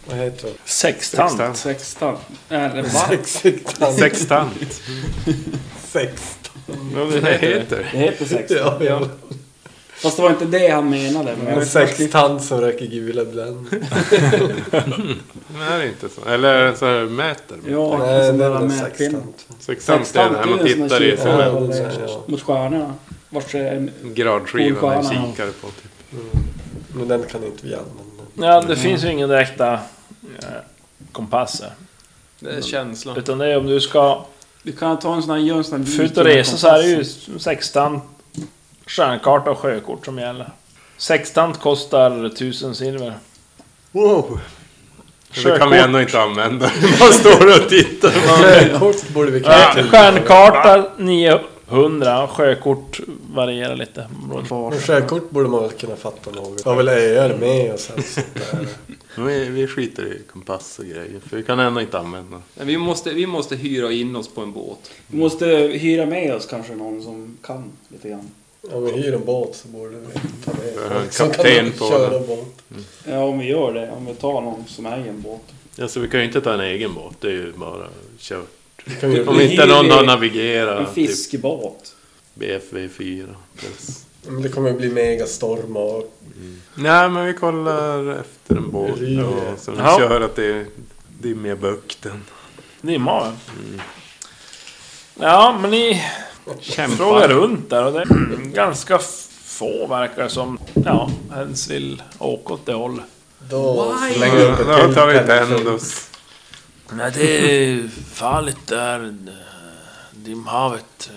Vad heter det?
Sextant.
Sextan. Eller va?
Sextant.
Sextant.
Sextant.
Vad det heter.
Det heter sextan.
Ja, ja.
Fast det var inte det han menade. Men
En sextant som röker gula ibland.
Nej, det är inte så. Eller så här mäter. man.
Ja,
Nej, det
en sån
är
där
en
mätfilm.
sextant.
Sextant är det här man
Sextant är en sån
tittar
där
Ja, den
kikare.
i sin
där, ja.
Mot stjärnorna. Vart är en...
gradskiva när jag
Polstjärnan.
kikar på. Typ.
Men den kan inte vi använda.
Ja, det finns ju ingen direkta eh, kompasser.
Det är känslan.
Utan det är om du ska
Du kan ta en sån här... Gör en sån här
För ut och resa så är det ju sextant, stjärnkarta och sjökort som gäller. Sextant kostar 1000 silver.
Wow!
Men Det kan vi
Sjökort.
ändå inte använda. Man står och tittar.
Sjökort borde vi
Nej,
kunna till.
Stjärnkarta 900 och sjökort varierar lite.
Men sjökort borde man väl kunna fatta något. Har väl öar med och sen sånt där.
Vi, vi skiter i kompass och grejer. För vi kan ändå inte använda.
Vi måste, vi måste hyra in oss på en båt.
Vi måste hyra med oss kanske någon som kan lite grann.
Om vi hyr en båt så borde vi ta med folk som
kapten
kan
på
köra båt.
Ja, om vi gör det. Om vi tar någon som äger en båt.
Alltså vi kan ju inte ta en egen båt. Det är ju bara kört.
Kan vi-
Om
Vi
inte
hyr
någon har
en
navigerat.
En
Typ
fiskebåt.
BFV4. plus.
Men Det kommer bli megastorm och
Nej men vi kollar efter en båt.
Riv.
Och så vi
Ja.
kör att det är dimmiga bukten.
Dimma mm. Ja, men ni frågar runt där och det är ganska få verkar det som. Ja, ens vill åka åt det hållet.
då...
Längre upp. Då tar vi Pendos.
Nej, det är farligt där. Dimhavet.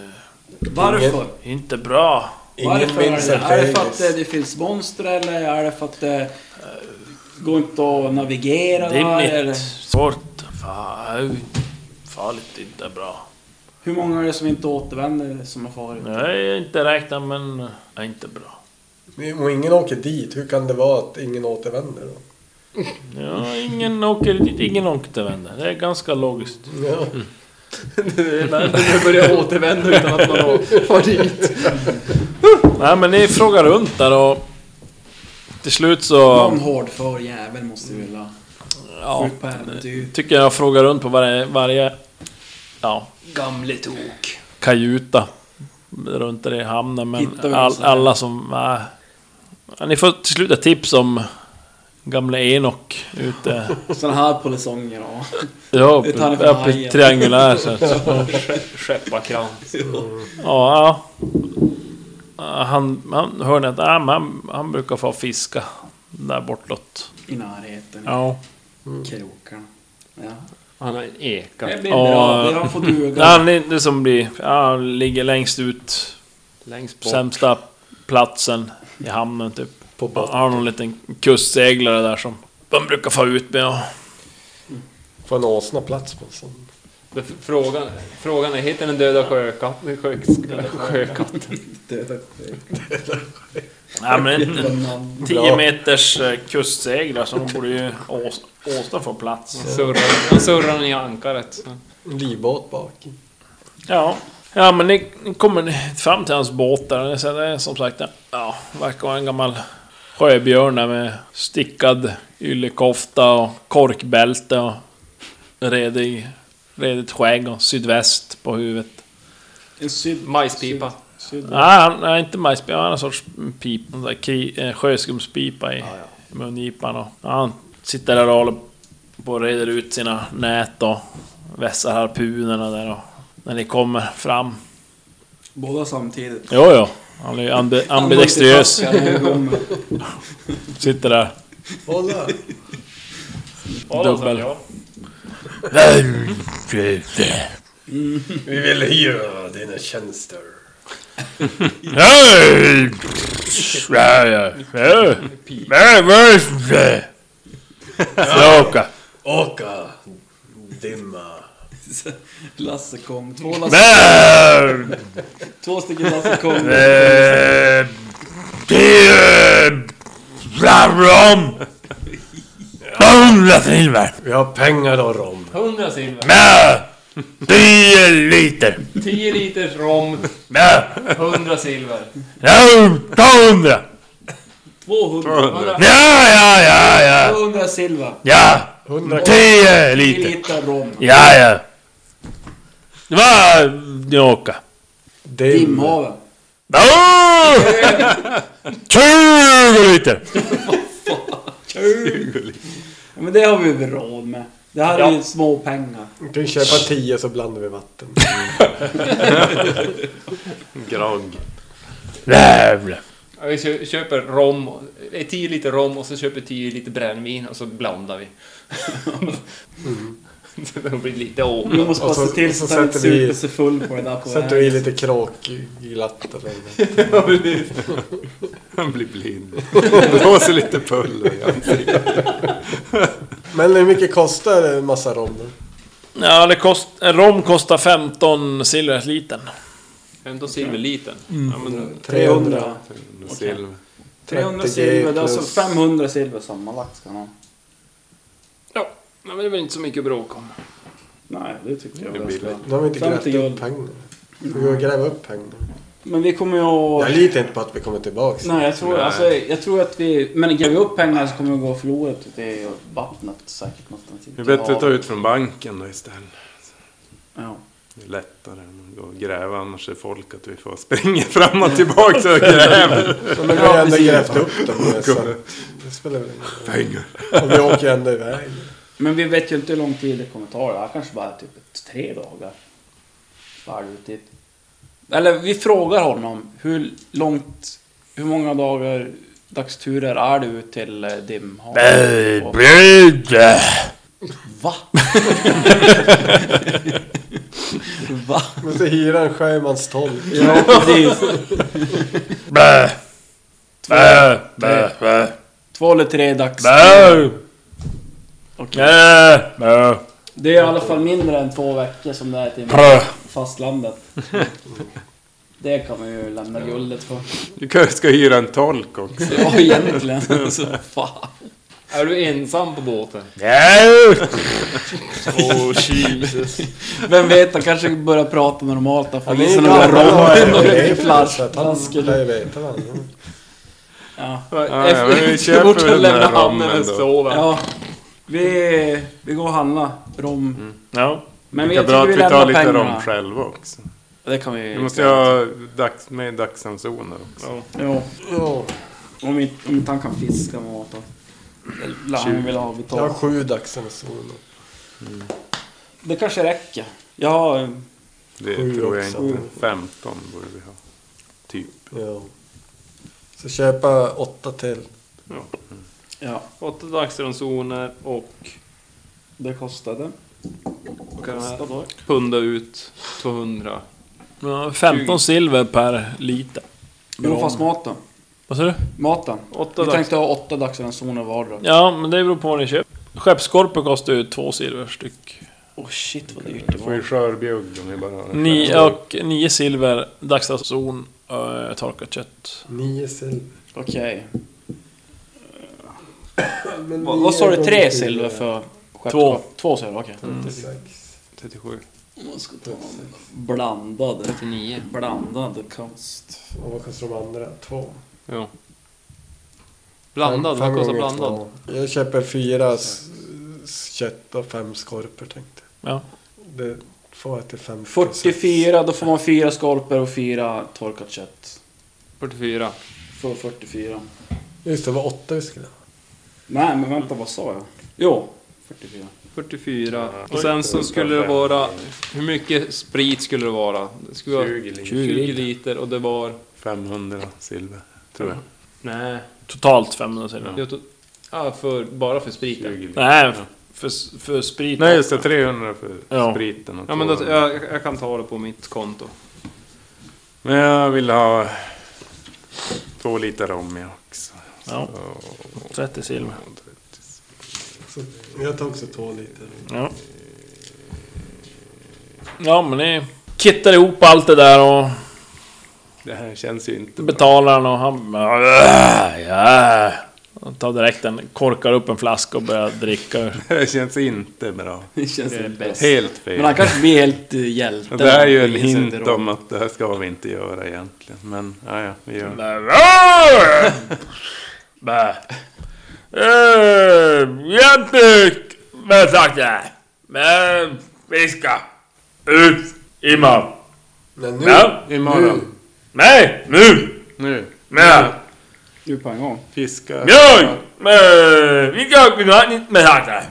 Varför?
Inte bra.
Ingen
Varför är
minns
det?
att
Är det för att
Regis...
det, det finns monster eller är det för att det går inte att navigera där? Eller?
Dimmigt, svårt, fa- farligt, inte bra.
Hur många är det som inte återvänder som har farit?
Nej, inte räknat men är inte bra.
Och ingen åker dit. Hur kan det vara att ingen återvänder då?
Ja, ingen åker dit, ingen återvänder. Det är ganska logiskt.
Ja.
Vi börjar återvända utan att man har far dit.
Nej men ni frågar runt där och... Till slut så...
Någon hårdför jävel måste vi vilja.
Ja,
Ut på äventyr.
tycker jag frågar runt på varje... varje ja,
Gamle tok.
kajuta. Runt där i hamnen
Hittar vi
men
någon
all,
sån här?
alla som... Äh, ja, ni får till slut ett tips om... Gamle Enok ute...
Sådana här polisonger ja.
Ja,
Utan han är
uppe,
från
uppe i
Hajen.
triangulär så att...
Skepparkrans.
Ja, ja. Han, han hör ni att ah, men han, han brukar få fiska där bortåt.
I närheten.
Ja.
Krokarna. Ja.
Han har en eka.
Det blir
Ja.
bra. Det har fått duga.
ja han är det som blir... Ja, han ligger längst ut.
Längst bort.
Sämsta platsen i hamnen typ.
På botten.
Han har någon liten kustseglare där som de brukar få ut med. ja.
Får en åsna plats på en sån?
Det- Frågan, frågan är, heter den döda sjökatten? Sjö, sjökatten?
Nej men en- en
namn.
10 meters eh, kustseglare så de borde ju ås- Åsna få plats.
Surrar- Han surrar i ankaret.
En livbåt bak.
Ja. Ja men ni, ni kommer fram till hans båt där. och Sen är det som sagt, ja, verkar vara en gammal sjöbjörn där med stickad yllekofta och korkbälte och redig, redigt skägg och sydväst på huvudet.
En syd...
Majspipa.
Nej, han är inte majspipa, han har en sorts pip, en sån där kri, eh, sjöskumspipa i mungipan. Och, ja, han sitter där och håller på och reder ut sina nät och vässar harpunerna där och när ni kommer fram
Båda samtidigt.
Jo, jo. Han är ju ambi- ambidextriös. Sitter där. Hålla.
alltså,
Dubbel.
Vi vill hyra dina tjänster.
Hej! Ja, ja. Ja. Nej, vad är det? Tråka.
Åka, dimma.
Lasse kom. Två, Lasse,
Nej!
två stycken Lasse kom.
Eh, Det är... Rom! Hundra silver!
Vi har pengar då Rom.
100 silver.
Med tio liter!
10 liters rom,
Med
100 silver.
femtonhundra!
200.
Ja, ja, ja, ja!
200 silver.
Ja! Tio liter!
Liter rom.
Ja, ja. Va? Njoka.
Dimhaven.
Åh! 20 liter!
Ja, men det har vi väl råd med. Det här är ju små pengar.
Vi kan köpa tio så blandar vi vatten.
Grogg.
Jävlar.
Ja, Vi kö- köper rom, eh, 10 liter rom och så köper 10 liter brännvin och så blandar vi.
Mm.
så det blir lite åka.
Vi måste bara
Och så-
se till så
och
att
så
han inte
sätter vi-
super sig full på det där på
Sätter
vägen.
du i lite kråkglatt eller något.
Han blir blind. Blåser lite puller i ansiktet.
Men hur mycket kostar en massa rom? då?
Ja, det kost, en rom kostar 15 silver litern.
15 silverlitern.
Mm.
300.
300.
300
30
silver, det är alltså
plus-
500 silver sammanlagt ska han ha.
Ja, men det är väl inte så mycket att bråka om.
Nej, det tycker jag väl ska.
Nu har vi inte
50
grävt upp
guld.
pengar. Vi går och gräva upp pengar.
Men vi kommer ju
Jag
att...
litar inte på att vi kommer tillbaks.
Nej, jag tror, alltså, jag tror att vi... Men gräver vi upp pengar så kommer vi gå förlorat ute i vattnet säkert någonstans.
Det är bättre att ta ut från banken då istället.
Ja.
Det är lättare än att gå och gräva. Annars är folk att vi får springa fram och tillbaka och gräva.
Men vi har ju ändå grävt upp dem. nu, Så att det spelar väl ingen
Pengar.
roll. Och vi åker ju ändå iväg.
Men vi vet ju inte hur lång tid det kommer ta. Det här kanske bara är typ ett, tre dagar. Varvtid. Eller vi frågar honom hur långt... Hur många dagar dagsturer är det ut till eh, Dimhavet? Och-
Bröd!
Va? Va?
Men så hyra en sjömanstolk.
Ja, precis.
Bä! Bä! Bä! Bä!
Två eller tre dags.
Bä! Bä! Bä!
Det är i alla fall mindre än två veckor som det är till
Prö!
fastlandet. Det kan man ju lämna guldet för.
Du kanske ska hyra en tolk också.
Ja, egentligen. Alltså, fan.
Är du ensam på båten?
Ja!
Vem vet, han kanske börjar prata normalt. Han får
Han
i
är
sig
ju
några rom,
gammal och
några
är flash. Han lär
flaskor.
ju veta vad han är.
Ja.
Ja, ja, men vi
Så fort
köper
han
väl den
lämnar
här
hamnen
rammen
och
då.
sover.
ja. Vi, vi går och handlar rom.
Ja.
Men
Lika
jag
bra
tycker
att
vi
vi
lämnar
tar lite rom
pengarna.
själva också.
Det kan vi...
Vi måste ju ha dags, med dagsransoner också.
Jo. Om, vi, om inte han kan fiska med åt oss. Det lär han väl ha
Jag har
betalt.
sju dagsransoner.
Det kanske räcker. Jag har... eh,
Det
Sju
tror jag
också.
inte. 15 borde vi ha. Typ.
Ja. Så köpa åtta till.
Ja,
8 dagsransoner och
det kostade.
kan punda ut 200.
Ja, 15 silver per liter.
Men då fast maten.
Vad sa du?
Maten.
Åtta
Vi
dags...
tänkte ha åtta dagsransoner vardera.
Ja, men det beror på vad ni köper. Skeppskorpor kostar ju två silver styck.
Åh oh, shit vad dyrt det
Får ju
var.
skörbjugg om vi bara har en
Ni,
skärm.
och nio silver, dagsranson, eh, torkat kött.
Nio silver.
Okej.
Men
Vad
nio
vad sa du?
gånger Mm.
Tre silver för skeppskorp?
Två.
Två silver, okej.
Sex.
37.
Man ska ta en blandad. 39. Blandad konst.
Och vad kostar de andra? Två.
Blandad,
Fem
vad kostar
gånger
blandad?
två. Jag köper fyra s- s- kött och fem skorpor tänkte jag.
Ja.
Det får jag till 50.
44, då får man fyra skorpor och fyra torkat kött.
44.
För 44.
Just det, det var åtta vi skulle ha.
Nej men vänta, vad sa jag? Jo, 44.
44. Och sen så skulle det vara... Hur mycket sprit skulle det vara? Det skulle vara
20 liter.
20 liter och det var...
500 silver, tror jag.
Nej.
Totalt 500 silver.
Jag tog, ja, för, bara för spriten.
20 liter.
Nej, för, för sprit.
Nej, just det. 300 för
Ja.
spriten och
Ja, men då,
200.
jag, jag kan ta det på mitt konto.
Men jag vill ha två liter rom jag också.
Ja. 30 silver.
Så jag tar också två liter.
Ja. Ja, men ni kittar ihop allt det där och
Det här känns ju inte...
betalar han och han... bara, Ja. Han tar direkt en, korkar upp en flaska och börjar dricka ur.
Det här känns inte bra.
Det känns inte bäst.
Helt
Men han
fel.
kanske blir helt eh, hjälte.
Det här är ju en
Vill sätta
hint
dem.
om att det här ska vi inte göra egentligen. Men ja, ja, vi gör det.
Bä. Eh, Jämtbygd! Men sakta! Men fiska! Ut! Imorgon!
Men nu...
Men!
Imorgon.
Nej! Nu!
Nu.
Men!
Nu på en gång.
Fiska.
Björn! Men! Vi kan inte med sakta!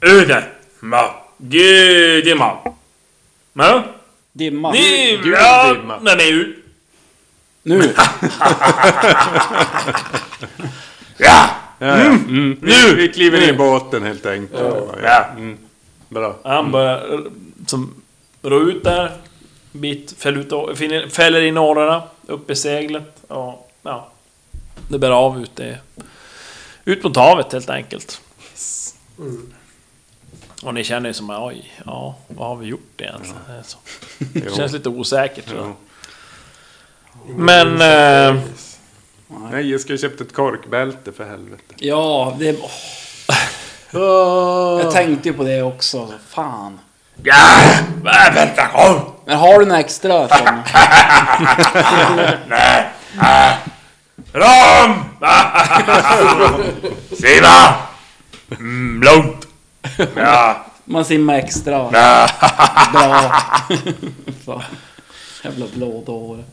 Ute! Men! Gud imorgon! Men!
Dimma.
Ni...
Gud,
Ja!
dimma.
När ni är ut!
Nu!
Ja!
Ja, ja. Mm.
Nu.
Vi, vi kliver in i båten helt enkelt. Ja. Mm. Bra.
Han börjar eh, som rå ut där. Bit, fäll ut, å- finner- fäller in årorna upp i seglet. Och, ja, det bär av ut det. Ut mot havet helt enkelt. Och ni känner ju som oj, ja, vad har vi gjort egentligen? Det är så. Det känns lite osäkert. tror jag.
Jo.
Men... Eh,
Nej, jag skulle ha köpt ett korkbälte för helvete.
Ja, det... åh. Jag tänkte ju på det också. så Fan.
ja, men vänta, kom!
Men har du några extra? Tom?
Ah. Ram! Ah. Simma! Mm, lugnt! Ja.
Man simmar extra.
Ja.
Bra. Fan. Jävla blådåre.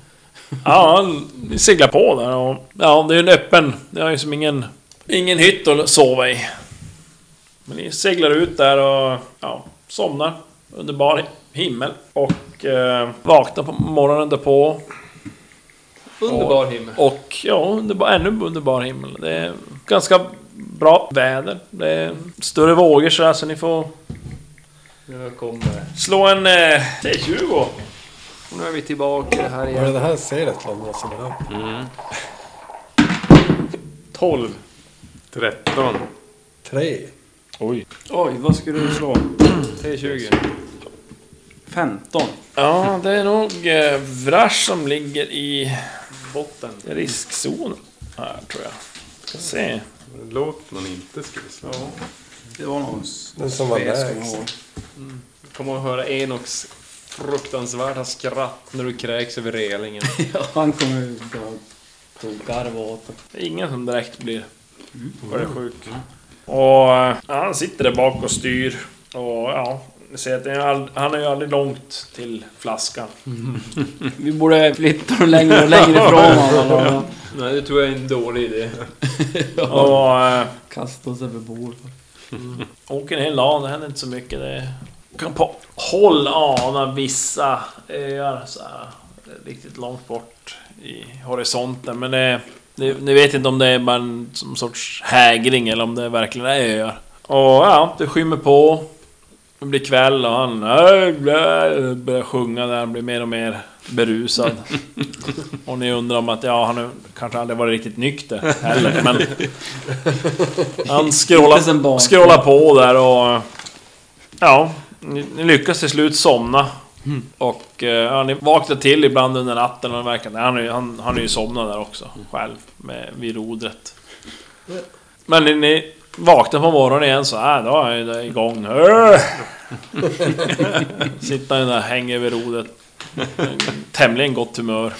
Ja, han seglar på där och... Ja, det är ju en öppen... Det har ju som ingen... Ingen hytt att sova i. Men ni seglar ut där och... Ja, somnar. Under bar himmel. Och eh, vaknar på morgonen därpå.
Underbar himmel.
Och ja, underbar, ännu underbar himmel. Det är ganska bra väder. Det är större vågor sådär så ni får...
Nu kommer
Slå en... Eh, T20!
Och nu är vi tillbaka här
Var det
igen.
det här seglet London som var upp?
12.
13.
Tre?
Oj, vad skulle du slå?
3.20.
15.
Ja, det är nog eh, Vrash som ligger i botten. Riskzonen här tror jag. Ska se.
Låt man inte skulle slå.
Det var nog...
Den som var
Jag ska
lägst?
ihåg.
Kommer att höra Enoks fruktansvärda skratt när du kräks över relingen.
Han kommer ju dra tog garv åt det.
Det är ingen som direkt blir mm. sjuk. Och eh, ja, han sitter där bak och styr. Och ja, ni ser att det är all, han är ju aldrig långt till flaskan.
Vi borde flytta dem längre och längre ifrån honom.
Nej, det tror jag är en dålig idé.
Och eh,
Kasta oss över bord.
åker en hel dag, det händer inte så mycket. Det kan på håll ana vissa öar så här, riktigt långt bort i horisonten. Men det, det, ni vet inte om det är bara en som sorts hägring eller om det verkligen är öar. Och ja, det skymmer på. Det blir kväll och han äh, blä, börjar sjunga där, blir mer och mer berusad. Och ni undrar om att ja, han har kanske aldrig varit riktigt nykter heller, men... Han
Inte som
scrollar,
barn.
scrollar på där och... Ja, ni, ni lyckas till slut somna.
Mm.
Och eh, ja, ni vaknar till ibland under natten och det verkar... Han, är ju- han, han är ju somnat där också,
Mm.
själv, med, vid rodret. Men ni, ni vaknar på morgonen igen så här, då är det igång. Äh! Sitter han där, hänger vid rodret. Tämligen gott humör.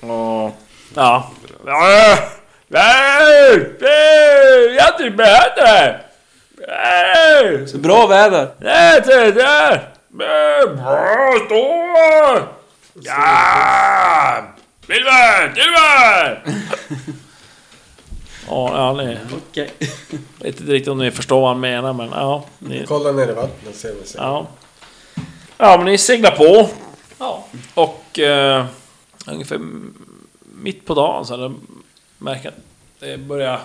Och... Ja. Äh! Nej! Nej! Jag har inte behövt det här! Nej!
Så bra väder!
Nej, se där! Nej, Bra, stå! Ja! Silver! Silver! Ja, ja ni...
Okej.
Jag vet inte riktigt om ni förstår vad han menar, men ja. Ni,
Kolla ner i vattnet ser vi sen.
ja. ja, men ni seglar på. Ja. Och eh, ungefär mitt på dagen så hade jag märkt att det börjar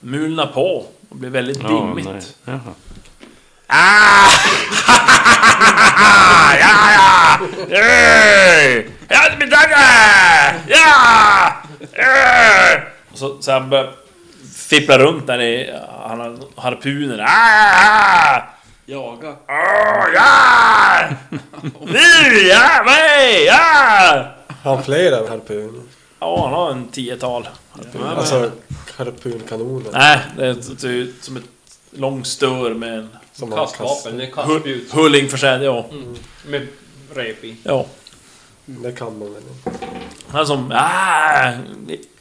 mulna på och bli väldigt dimmigt.
nej. Jaha.
Ja, det blir dagar! Ja! Eh! Och så, så han började fippla runt där i han har harpunen. Ah!
Jaga.
Oh, ja! Nu! Ja! Mig! Ja!
Har han flera harpuner?
Ja, han har en tiotal. harpuner.
Alltså harpunkanoner.
Nej, det är- ser ut som ett lång stör med en
Som han kastar.
Kastvapen, det är kastspjut.
hulling försedd. Ja.
Mm. Med rep i.
ja.
Det kan man väl inte.
Han som... Ah!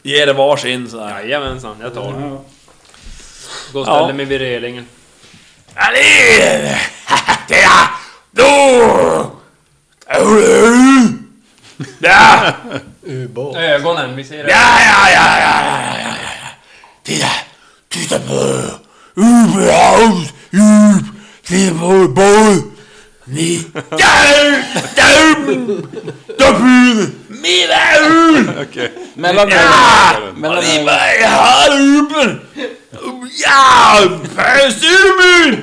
Ger det varsin sådär.
Jajamensan, jag tar den.
Ja.
Gå och ställer
Ja.
mig vid relingen.
Allez! Tiens! Då! Ja!
Ubåt.
Ögonen, vi ser det.
Ja, ja, ja, ja, ja, ja, ja. Titta! Titta på Ubåt! Ut! Titta på båt! Ni... Dum! Dum! Dum! Mina ur!
Mellan
Ja!
Mellan
Mina halvor! Ja! Pös ur mig!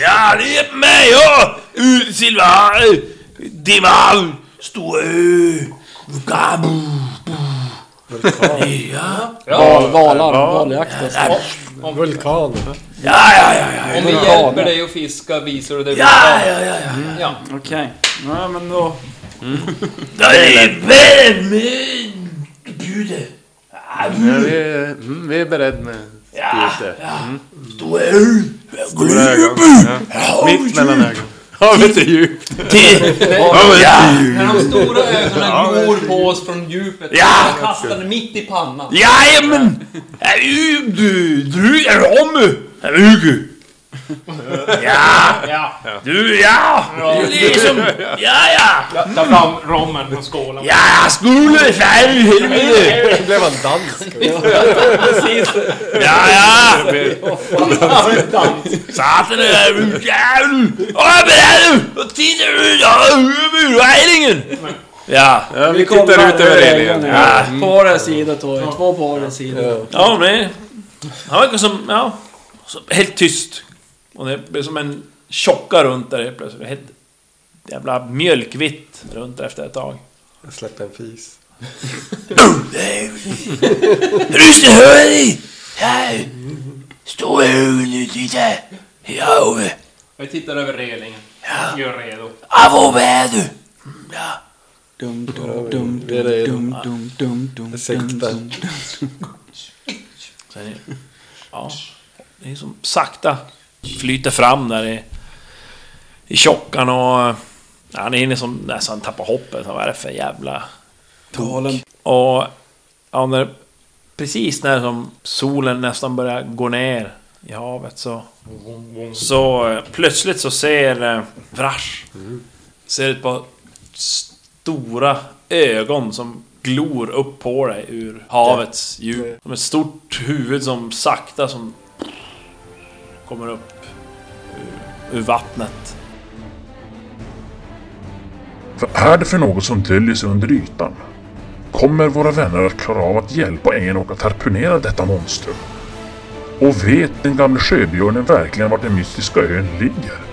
Ja, det är mig och ut Silva! Dimman! Stora ö! Gabu! Ja!
Val, valar, valjakt. Ja.
Vulkaner.
Ja, ja, ja, ja,
Om vi
Vulkaner.
hjälper dig att fiska visar du dig
ja, ja, ja, ja.
Okej. Ja, men då...
Det är väl min bjude.
Ja, vi, är, mm, vi är beredda med
Ja,
spjutet.
Stora ö!
Stora ögon. Ja. Mitt mellan ögonen. Havet är djupt.
Ja, ja,
När de stora ögonen glor på oss från djupet
Ja.
och kastar den mitt i pannan.
Jajamän! Är du... Du, du är Romme! Är du Hugo? Ja! Du, ja! Du liksom... Ja, ja!
Ta fram rommen från skålen.
Ja, jag skulle fan i helvete!
Då blev han dansk.
Ja, ja! Satan är du jävel! Och jag är beredd att titta ut över relingen! Ja.
Ja, vi tittar ut över relingen.
Ja.
På vår sida tar jag två på vår sida.
Ja, men... Han verkar som... Ja. Som, helt tyst. Och det blir som en tjocka runt där helt plötsligt. Helt jävla mjölkvitt runt där efter ett tag.
Jag släppte en fis.
Ryssen, hör dig! Här! Stå här nu, titta! Ja, Ove.
Vi tittar över relingen. Gör redo.
Avo, vad är du? Ja.
Dum, dum, dum, dum, dum, dum, dum, dum, dum,
Sekta.
dum.
Sen är, ja, det är som sakta flyter fram där i, i tjockan och... Ja, han är inne som nästan han tappar hoppet. Vad är det för jävla...
Galen.
Och... Ja, när, precis när som solen nästan börjar gå ner i havet så... Så eh, plötsligt så ser eh, Vrash... Ser ett par stora ögon som glor upp på dig ur havets djup. Som ett stort huvud som sakta som... Kommer upp ur, ur vattnet.
Vad är det för något som döljer sig under ytan? Kommer våra vänner att klara av att hjälpa ängen och att harpunera detta monster? Och vet den gamle sjöbjörnen verkligen vart den mystiska ön ligger?